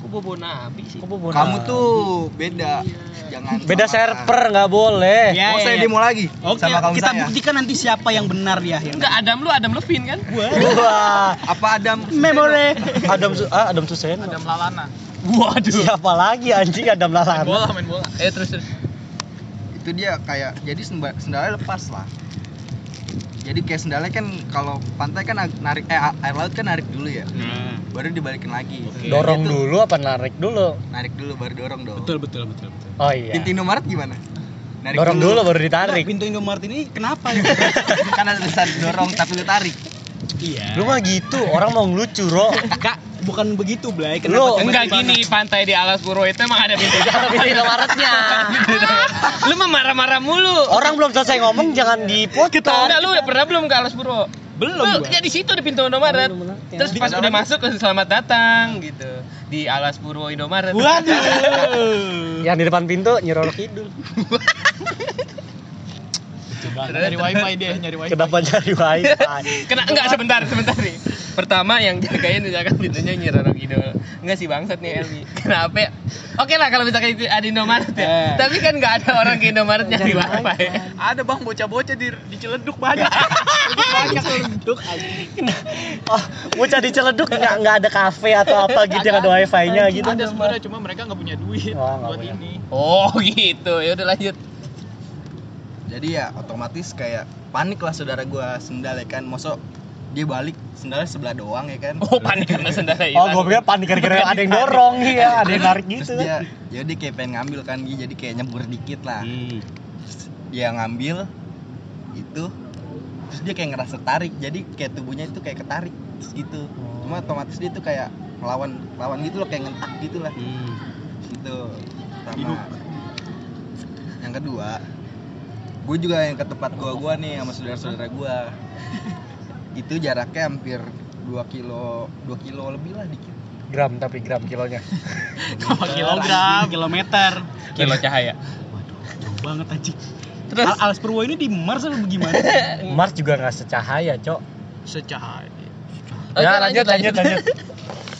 Kok bobo nabi sih?
kamu tuh beda jangan
beda
samakan.
server nggak
Ya,
boleh.
Iya,
mau
ya,
saya
ya.
demo lagi
Oke,
sama kamu
kita
saya.
buktikan nanti siapa yang benar ya.
Enggak Adam lu Adam Levine kan?
Wah,
Apa Adam?
Memore.
Adam Su ah, Adam Suseno.
Adam Lalana.
Waduh.
Siapa lagi anjing Adam Lalana?
Bola main bola.
Eh terus terus.
itu dia kayak jadi semba- sendalanya lepas lah jadi kayak sendalanya kan kalau pantai kan ag- narik eh a- air laut kan narik dulu ya baru dibalikin lagi
Hmm. dorong
Itu
dulu apa narik dulu
narik dulu baru dorong dong
betul betul betul betul
oh iya
pintu Indomaret gimana Narik
dorong dulu baru ditarik
pintu Indomaret ini kenapa ya
kan ada tulisan dorong tapi lu tarik
iya
lu mah gitu orang mau ngelucu ro
kak bukan begitu Blay
Lu-
kenapa
Enggak
tiba-tiba-
gini, pantai di Alas Purwo itu emang ada pintu jalan.
tapi Indomaretnya
Lu mah marah-marah
Oh,
mulu.
orang belum selesai ngomong jangan
Enggak,
dipotong
lu gitu? udah pernah belum ke Alas Purwo?
kan. belum
Lu,
gua.
ya di situ di pintu Indomaret. Terus pas udah masuk selamat datang gitu di Alas Purwo Indomaret.
waduh
yang di depan pintu nyerolok hidung
coba nyari wifi dia nyari wifi
kenapa cari wifi
Kena enggak sebentar, sebentar nih. Pertama yang jagain jagain pintunya nyerorok gitu. Enggak sih bangsat nih Elmi. Kenapa? ya? Oke lah kalau misalkan itu ada Indomaret ya.
Eh.
Tapi kan enggak ada orang ke Indomaret nyari ya. wifi.
Ada bang bocah-bocah di diceleduk banyak. banyak
Iya.
celeduk.
oh mau cari celeduk nggak nggak ada kafe atau apa gitu yang ada wifi-nya gitu
Ada sebenarnya cuma mereka nggak punya duit
Wah, nggak
buat
punya.
ini.
Oh, gitu. Ya udah lanjut.
jadi ya otomatis kayak panik lah saudara gua sendalnya kan mosok dia balik sendalnya sebelah doang ya kan
Oh, panik karena sendara hilang.
oh gue pikir panik gara-gara ada yang dorong iya ada yang narik
terus
gitu
dia jadi kayak pengen ngambil kan Gi, jadi kayak nyebur dikit lah dia ngambil itu terus dia kayak ngerasa tarik jadi kayak tubuhnya itu kayak ketarik terus gitu cuma otomatis dia tuh kayak melawan lawan gitu loh kayak ngentak gitu lah gitu
Hidup.
sama yang kedua gue juga yang ke tempat gua gua nih sama saudara saudara gua itu jaraknya hampir 2 kilo 2 kilo lebih lah dikit
gram tapi gram kilonya
Berapa kilogram?
kilometer
Kilo cahaya.
jauh banget anjing
Terus
Al Alas Purwo ini di Mars atau gimana
Mars juga nggak secahaya cok
Secahaya.
Oke,
ya lanjut lanjut lanjut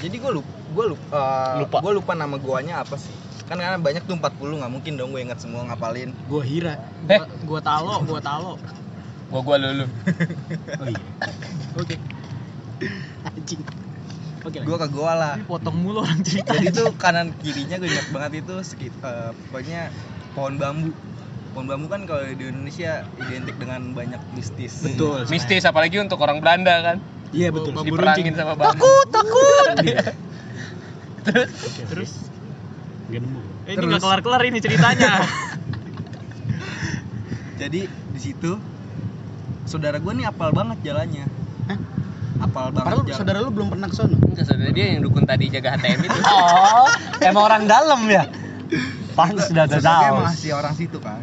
jadi gue lupa gue lupa,
Lupa.
gue eh, lupa nama goanya apa sih kan karena banyak tuh 40 nggak mungkin dong gue ingat semua ngapalin
gua Hira
Eh,
Gua talo, gua talo.
gua gua lulu.
oh iya oke anjing oke
gue ke goa lah
Tapi potong mulu orang Eh, cerita.
jadi tuh kanan kirinya gue ingat banget itu sekit- eh, pokoknya pohon bambu pohon bambu kan kalau di Indonesia identik dengan banyak mistis
Iya, betul
Mistis apalagi untuk orang Belanda kan.
iya betul
Bambu
Diperangin
runcing.
sama bambu.
Terus
Nggak nemu
eh, ini nggak kelar-kelar ini ceritanya.
jadi di situ saudara gue nih apal banget jalannya
Hah?
apal banget
padahal
jalan.
saudara lu belum pernah ke sono
Enggak saudara dia yang dukun tadi jaga HTM itu.
oh emang orang dalam ya pantas sudah ada
Sosoknya emang
daus
asli orang situ kan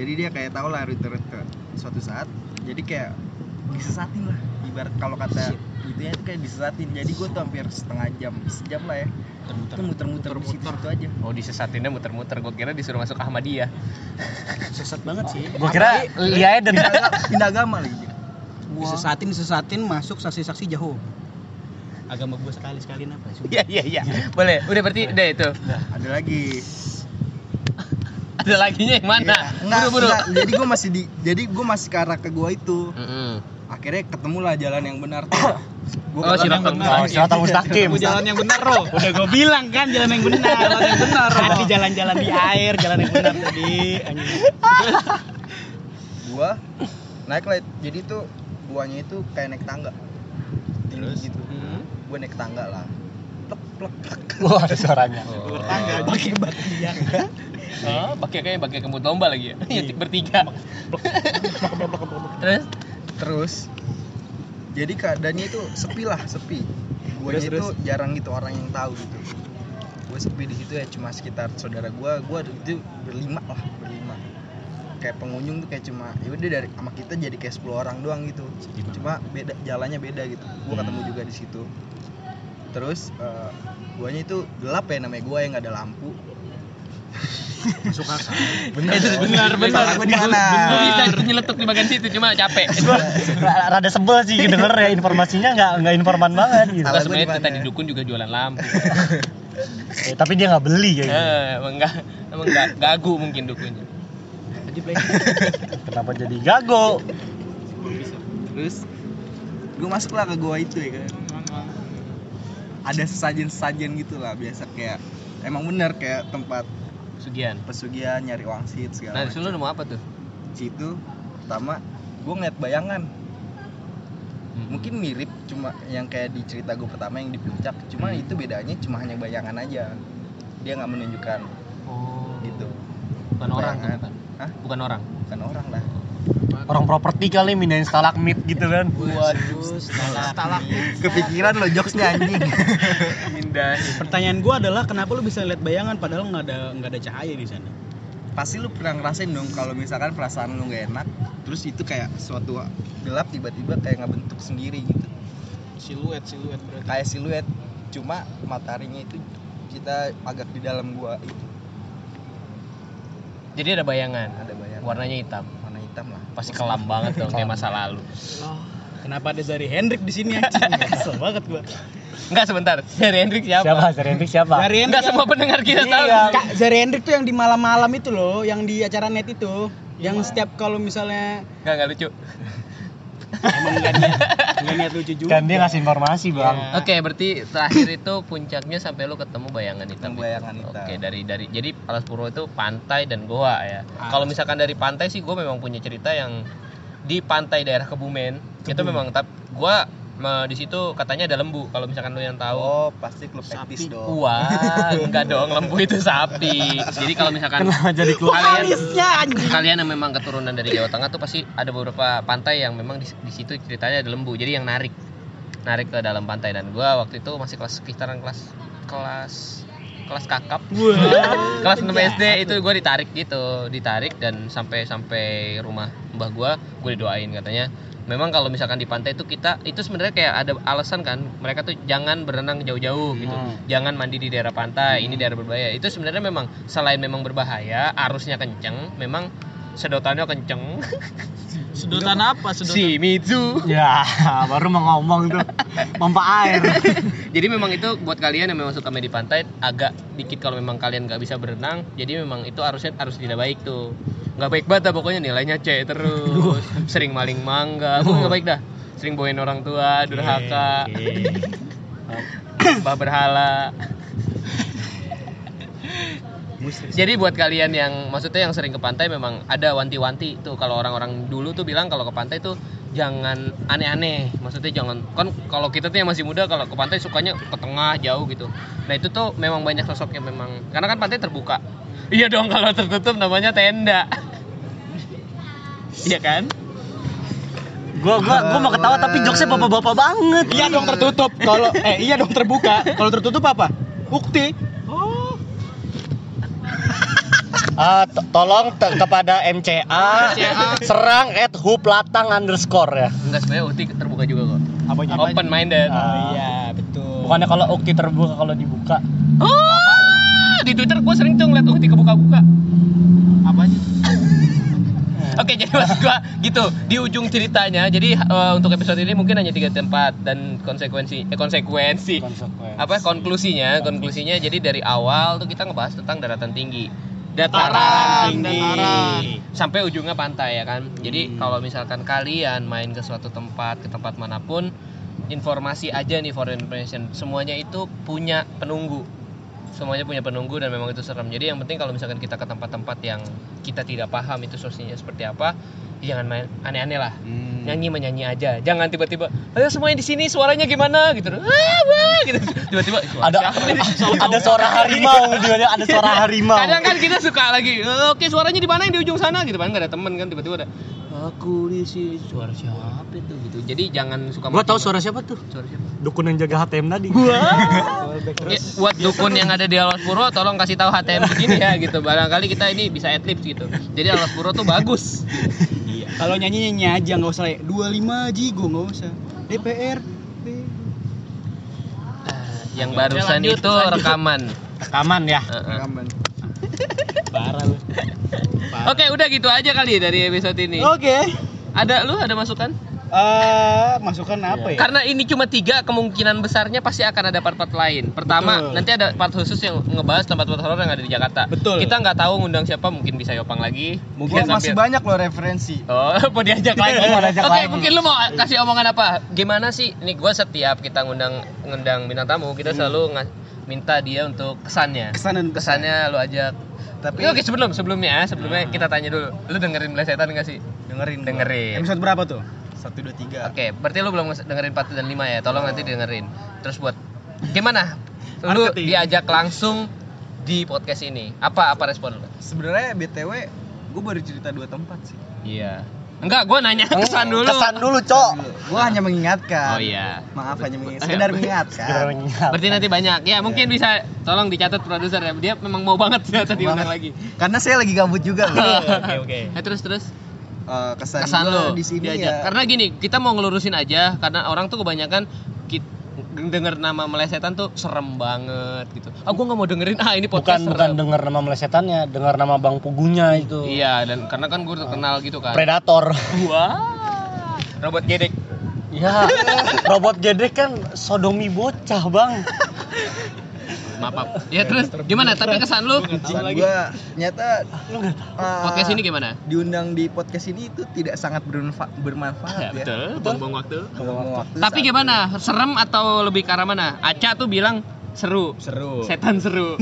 jadi dia kayak tau lah rute rute suatu saat jadi kayak disesatin lah ibarat kalau kata itunya itu kayak disesatin jadi gue tuh hampir setengah jam sejam lah ya
muter
itu muter-muter di situ situ aja
Oh disesatinnya muter-muter, gue kira disuruh masuk Ahmadiyah
sesat banget sih
gue kira Lia Eden
pindah agama lagi
disesatin disesatin masuk saksi-saksi jauh agama gua sekali sekalian apa sih
Iya iya iya, boleh. Udah berarti udah itu.
ada lagi
Ada laginya yang mana?
Iya.
Nah,
Enggak,
Buru-buru.
enggak. jadi gue masih di jadi gue masih ke arah ke gua itu
Mm-mm.
akhirnya ketemulah jalan yang benar tuh gue
Oh silakan.
oh silakan mustaqim
Kamu jalan yang benar, Ro.
Udah gue bilang kan jalan yang benar, jalan yang benar. Tadi jalan-jalan di air, jalan yang benar tadi. Anjing.
gue naik lah jadi tuh guanya itu kayak naik tangga tinggi gitu gue naik tangga lah plek plek plek
wah ada suaranya
pakai batiak
Oh, pakai kayak pakai kemut domba lagi ya. Nyetik bertiga. Terus
terus jadi keadaannya itu sepi lah sepi gue
Terus,
itu jarang gitu orang yang tahu gitu gue sepi di situ ya cuma sekitar saudara gue gue itu berlima lah berlima kayak pengunjung tuh kayak cuma ya udah dari sama kita jadi kayak 10 orang doang gitu cuma beda jalannya beda gitu gue ketemu
Hmm.
juga di situ terus eh, guanya itu gelap ya namanya gua yang nggak ada lampu
Masuk akal.
Eh,
bener
benar benar.
gue di mana
Lu bisa nyeletuk di bagian situ cuma capek.
rada sebel sih denger ya informasinya nggak nggak informan banget gitu
Kalau Iya,
Salah gua
sebenarnya
di
itu
mana?
tadi dukun juga jualan lampu.
Eh, tapi dia nggak beli ya gitu.
Eh, emang enggak emang enggak gagu mungkin dukunnya.
kenapa jadi gago
terus gue masuklah ke gua itu ya kan ada sesajen-sesajen gitu lah biasa kayak emang bener kayak tempat
Sugian.
pesugihan nyari wangsit segala
Nah, di
macam.
lu nemu apa tuh?
situ pertama gue ngeliat bayangan
Hmm.
mungkin mirip cuma yang kayak di cerita gue pertama yang di puncak cuma itu bedanya cuma hanya bayangan aja dia nggak menunjukkan
oh,
gitu
bukan orang tuh,
Bayangan.
bukan.
Hah?
Bukan orang.
bukan orang lah
Orang properti kali mindahin stalagmit gitu kan.
waduh
Stalak.
kepikiran lo jokesnya anjing
Pertanyaan gua adalah kenapa lu bisa lihat bayangan padahal nggak ada nggak ada cahaya di sana?
pasti lu pernah ngerasain dong kalau misalkan perasaan lu nggak enak terus itu kayak suatu gelap tiba-tiba kayak nggak bentuk sendiri gitu
siluet siluet berarti
kayak siluet cuma mataharinya itu kita agak di dalam gua itu
Jadi ada bayangan.
ada bayangan
Warnanya hitam.
warna hitam lah
Pasti kelam banget dong kayak masa lalu.
Kenapa ada Zari Hendrik di sini anjing? Kesel banget gua.
Enggak sebentar. Dari Hendrik siapa? Iya.
Siapa? Sir Hendrik siapa?
Zari
Enggak
Hendrik.
semua pendengar kita tahu.
Iya.
Kak, Zari Hendrik tuh yang di malam-malam itu loh, yang di acara net itu, yang setiap kalau misalnya
Enggak enggak lucu.
emang nggak niat, nggak niat lucu juga. Iya.
Kan dia ngasih informasi, Bang.
Iya.
Oke, berarti terakhir itu puncaknya sampai lu ketemu bayangan hitam.
Ketemu bayangan hitam.
Oke, dari dari jadi Palas Purwo itu pantai dan goa ya.
Ah.
Kalau misalkan dari pantai sih gue memang punya cerita yang di pantai daerah Kebumen. Itu memang tapi gua me- di situ katanya ada lembu kalau misalkan lu yang tahu.
oh pasti klub etis dong
Wah, enggak dong, lembu itu sapi. Jadi kalau misalkan
Kenapa jadi keluar?
kalian kalian yang memang keturunan dari Jawa Tengah tuh pasti ada beberapa pantai yang memang di, di situ ceritanya ada lembu jadi yang narik narik ke dalam pantai dan gua waktu itu masih kelas sekitaran kelas kelas kelas kakap kelas 6 SD itu gua ditarik gitu ditarik dan sampai sampai rumah mbah gua gue didoain katanya memang kalau misalkan di pantai itu kita itu sebenarnya kayak ada alasan kan mereka tuh jangan berenang jauh-jauh gitu jangan mandi di daerah pantai ini daerah berbahaya itu sebenarnya memang selain memang berbahaya arusnya kenceng memang sedotannya kenceng
sedotan apa sedotan
si Mizu
Ya, baru mau ngomong tuh. Pompa air.
jadi memang itu buat kalian yang memang suka main di pantai agak dikit kalau memang kalian nggak bisa berenang jadi memang itu arusnya harus tidak baik tuh nggak baik banget dah pokoknya nilainya C terus sering maling mangga pokoknya nggak baik dah sering bohongin orang tua
Iya,
durhaka Mbah berhala. Jadi buat kalian yang maksudnya yang sering ke pantai memang ada wanti-wanti tuh kalau orang-orang dulu tuh bilang kalau ke pantai tuh jangan aneh-aneh. Maksudnya jangan kan kalau kita tuh yang masih muda kalau ke pantai sukanya ke tengah jauh gitu. Nah itu tuh memang banyak sosok yang memang karena kan pantai terbuka. Iya dong kalau tertutup namanya tenda. Iya kan?
Gua gua gua mau ketawa tapi jokesnya bapak-bapak banget.
Iya dong tertutup. Kalau eh iya dong terbuka. Kalau tertutup apa? Ukti.
Oh. Ah, to- tolong te- kepada MCA serang at huplatang underscore ya.
Enggak sebenarnya Uti terbuka juga kok.
Apanya?
Open minded.
Ah.
Iya, betul.
Bukannya kalau ukti terbuka kalau dibuka.
Oh, di Twitter gue sering tuh ngeliat Ukti kebuka-buka.
apa aja?
Oke, jadi maksud gua gitu di ujung ceritanya. Jadi eh, untuk episode ini mungkin hanya tiga tempat dan konsekuensi eh, konsekuensi
Konsekuensi.
apa konklusinya konklusinya jadi dari awal tuh kita ngebahas tentang daratan tinggi dataran, tinggi sampai ujungnya pantai ya kan jadi kalau misalkan kalian main ke suatu tempat ke tempat manapun informasi aja nih for your information semuanya itu punya penunggu semuanya punya penunggu dan memang itu serem jadi yang penting kalau misalkan kita ke tempat-tempat yang kita tidak paham itu sosinya seperti apa ya jangan main aneh-aneh lah
Hmm.
nyanyi menyanyi aja jangan tiba-tiba ayo semuanya di sini suaranya gimana gitu "Ah, wah," gitu tiba-tiba "Suara
Ada
siapa nih?"
ada suara harimau di mana ada suara harimau.
kadang kan kita suka lagi "Eh, oke suaranya di mana yang di ujung sana gitu kan nggak ada temen kan tiba-tiba ada aku di sini suara siapa itu gitu jadi jangan suka
Gua
macam-macam.
tahu suara siapa tuh?
suara siapa
Dukun yang jaga HTM tadi.
Ya, buat dukun yang ada di Alas Puro tolong kasih tahu HTM begini ya gitu barangkali kita ini bisa adlibs gitu jadi Alas Puro tuh bagus
Kalau nyanyi nyanyi aja nggak usah. like, 25 Jigo nggak usah. DPR.
Nah, yang barusan
lanjut,
itu
lanjut.
rekaman
Rekaman ya.
Heeh.
rekaman
Parah lu.
Oke, udah gitu aja kali dari episode ini.
Oh.
Oke.
Ada lu ada masukan?
Eh, masukan apa ya?
Iya. Karena ini cuma tiga kemungkinan besarnya pasti akan ada part-part lain. Pertama,
Betul.
nanti ada part khusus yang ngebahas tempat-tempat horor yang ada di Jakarta.
Betul.
Kita nggak tahu ngundang siapa, mungkin bisa Yopang lagi.
gua
Mungkin
masih
sambil-
banyak lo referensi
Oh, mau diajak lagi. Oke,
Mau diajak lagi.
mungkin lu mau kasih omongan apa? Gimana sih? Nih gua setiap kita ngundang ngundang bintang tamu, kita selalu nga- minta dia untuk kesannya.
Kesan dan kesan.
Kesannya lu ajak
tapi
Oke, sebelum sebelumnya, sebelumnya kita tanya dulu. Lu dengerin Melesetan gak sih?
dengerin gua.
Dengerin.
Episode berapa tuh?
satu dua tiga
Oke, berarti lu belum dengerin 4 dan 5 ya. Tolong nanti dengerin. Terus buat gimana? Lu
Marketing.
diajak langsung di podcast ini. Apa apa respon lu?
sebenarnya btw gue baru cerita dua tempat sih
Iya. Enggak, gua nanya Oh, kesan dulu.
kesan dulu cok
gue hanya mengingatkan
iya. Oh iya.
maaf hanya mengingatkan
Iya,
sekedar
betul.
Sekedar
mengingatkan
mengingat.
Berarti nanti banyak. Ya, mungkin bisa tolong dicatat produser ya. Dia memang mau banget ternyata diundang lagi.
karena saya lagi gabut juga loh.
oke oke
Eh, terus terus
Eh, kesan,
kesan
gua
lo
di sini
diajak.
ya
Karena gini, kita mau ngelurusin aja karena orang tuh kebanyakan kit denger nama melesetan tuh serem banget gitu. Ah, gua nggak mau dengerin. Ah, ini
bukan
podcast
bukan
serem.
dengar nama melesetannya dengar nama bang pugunya itu
Iya, dan karena kan gue terkenal gitu kan.
predator
Wah. Robot gedek.
ya robot gede kan sodomi bocah bang
Maaf. maaf. Ya terus gimana? Tapi kesan lu
kesan gue nyata eh,
podcast ini gimana?
diundang di podcast ini itu tidak sangat bermanfa- bermanfaat
Ya,
ya,
betul, buang-buang waktu.
Ngomong waktu
Tapi
saat-
gimana? Serem atau lebih ke arah mana? Aca tuh bilang seru.
seru
Setan seru.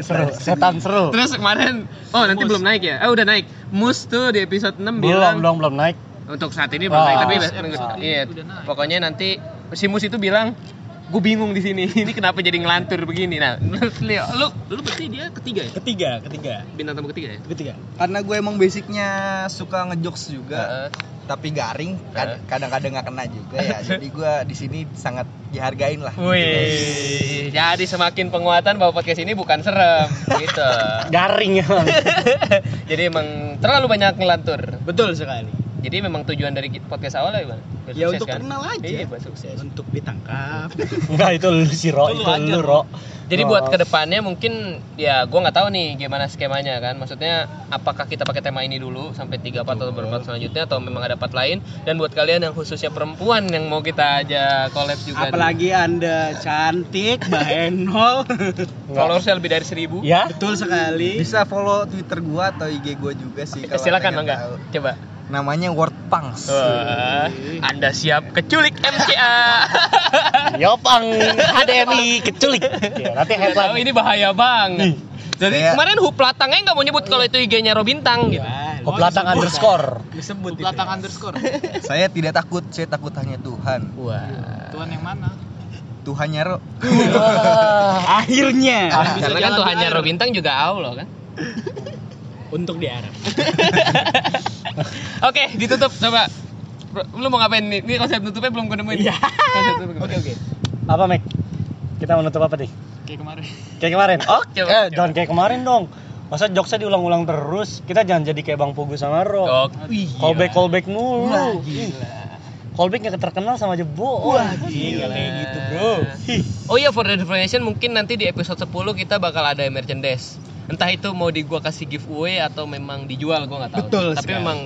seru setan seru
Terus kemarin oh nanti belum naik ya? Eh udah naik. Mus tuh di episode 6 bilang
belum belum belum naik
untuk saat ini belum
Wah,
naik tapi
episode
minggu-
saat
iya. Pokoknya nanti si Mus itu bilang gue bingung di sini. Ini kenapa jadi ngelantur begini? Nah, menurut Leo, lu lu berarti dia ketiga ya?
Ketiga, ketiga,
Bintang tamu ketiga ya?
ketiga.
karena gue emang basicnya suka ngejokes
Heeh.
juga tapi garing kad- kadang-kadang nggak kena juga ya jadi gue di sini sangat dihargain lah
Wih, jadi semakin penguatan bahwa podcast ini bukan serem gitu.
garing ya bang
Jadi emang terlalu banyak ngelantur.
Betul sekali.
Jadi memang tujuan dari podcast awal ya, Bang. Biar
Ya
sukses,
untuk kenal aja.
Iya, buat sukses.
Untuk ditangkap.
enggak itu lu si ro
Itu lu
itu
aja,
lu ro
Jadi
Oh.
buat kedepannya mungkin ya gua nggak tahu nih gimana skemanya kan. Maksudnya apakah kita pakai tema ini dulu sampai tiga part atau berempat selanjutnya atau memang ada part lain? Dan buat kalian yang khususnya perempuan yang mau kita ajak collab juga. nih.
Apalagi Anda cantik, bahenol.
followersnya lebih dari seribu.
Iya,
ya
Betul sekali.
bisa follow twitter gue atau ig gue juga sih kalau
Silakan
pengen
Mangga.
tahu.
Coba.
namanya word punks
Wah, anda siap keculik MCA.
Yopang HDMI keculik ya, nanti
Nggak tahu
headline
ini bahaya banget. Jadi
Kayak-
kemarin huplatangnya nggak mau nyebut kalau itu IG-nya Robintang gitu.
Iya.
Koplatang underscore
Disebut itu
Pelatang
ya.
underscore.
saya tidak takut saya takut hanya Tuhan
Wah.
Tuhan yang mana?
Tuhannya Ro
Wah,
Akhirnya
Karena
Ah.
kan
jalan di
Tuhannya
air.
Robintang juga Allah kan.
untuk di Arab.
Oke, ditutup coba. Bro, Lu mau ngapain nih? Ini konsep tutupnya belum gue nemuin. Iya. Oke, oke.
apa Mek kita menutup apa nih
Kayak kemarin.
kayak kemarin oke
Coba,
eh,
coba.
jangan kayak kemarin dong masa jokesnya diulang-ulang terus kita jangan jadi kayak bang pugu sama ro
Oh, iya.
callback callback mulu callback nggak terkenal sama aja bohong
Iya kayak gitu, Bro.
Oh iya, for the information mungkin nanti di episode 10 kita bakal ada merchandise. Entah itu mau di gua kasih giveaway atau memang dijual gua nggak tahu.
Betul
Tapi
sekali.
memang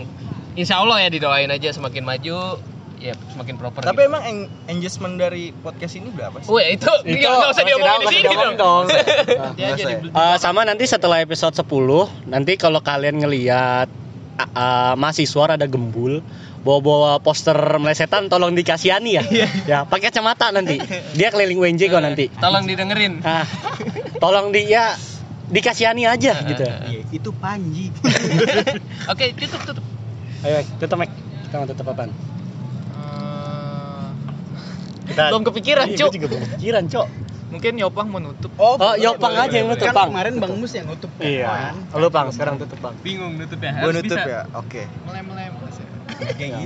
insya Allah ya didoain aja semakin maju ya semakin proper.
tapi
gitu.
emang eng- engagement dari podcast ini berapa sih?
Weh, itu, nggak
Itu,
usah
masih
diomongin di
masih
sini dong. Ya,
diomongin dong.
Dia
Nggak
jadi
saya.
Eh, sama nanti setelah episode 10 nanti kalau kalian ngelihat ah, ah, mahasiswa ada gembul bawa-bawa poster melesetan tolong dikasihani ya
Iya.
ya pakai kacamata nanti dia keliling UNJ kok nanti
Tolong didengerin.
ah tolong dia dikasihani aja gitu
Iya, itu Panji.
Oke, tutup tutup.
ayo tetap Mek kita mau tetap apaan kita
Belum kepikiran,
Iya,
Cuk.
gua juga belum kepikiran cok
Mungkin Yopang mau nutup.
oh yopang aja yang nutup
Kan
bang
kemarin Bang Mus yang nutup. kan,
iya
Bang.
lu bang sekarang tutup bang
Bingung nutup ya.
Gue
Harus
nutup
bisa.
ya, oke.
Melem-melem.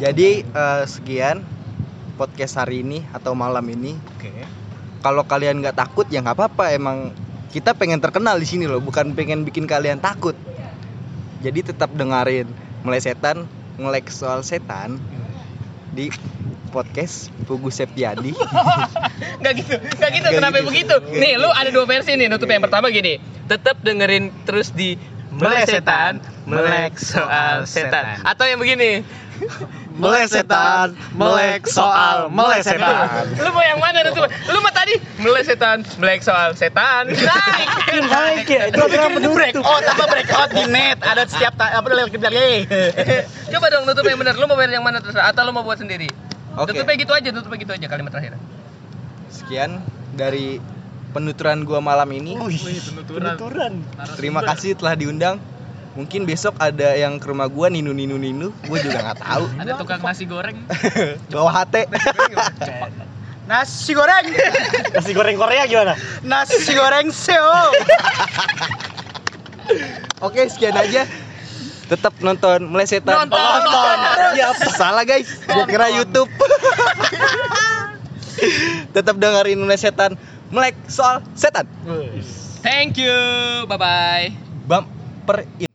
Jadi eh, sekian podcast hari ini atau malam ini.
Oke.
Kalau kalian nggak takut ya nggak apa-apa. Emang kita pengen terkenal di sini loh, bukan pengen bikin kalian takut. Jadi tetap dengerin melesetan, ngelek soal setan di podcast Pugu Septiadi.
Gak gitu, gak gitu.
Nggak
Kenapa
gitu.
begitu? Nih, lu ada dua versi nih nutup yang pertama gini. Tetap dengerin terus di melesetan, melek soal setan. Atau yang begini.
melesetan, melek soal melesetan.
Lu mau yang mana nutup? Lu mah tadi melesetan, melek soal setan. Naik.
naik ya itu akhirnya menutup
Oh, tambah breakout di net. Ada setiap ta- apa lagi
Coba dong nutup yang benar. Lu mau bayar yang mana terus atau lu mau buat sendiri?
Oke.
Tutupnya gitu aja, tutupnya gitu aja kalimat terakhir.
Sekian dari penuturan gua malam ini.
Wih, penuturan.
Penuturan.
Narasumber.
Terima kasih telah diundang. Mungkin besok ada yang ke rumah gua ninu ninu ninu, gua juga nggak tahu.
Ada tukang nasi goreng.
Bawa hati.
Nasi goreng,
Nasi goreng Korea gimana?
nasi goreng seo.
Oke, sekian aja. Tetap nonton melesetan.
Nonton. Iya,
Ya, salah guys. Gua kira YouTube. Tetap dengerin melesetan. Melek soal setan.
Thank you. Bye bye.
Bumper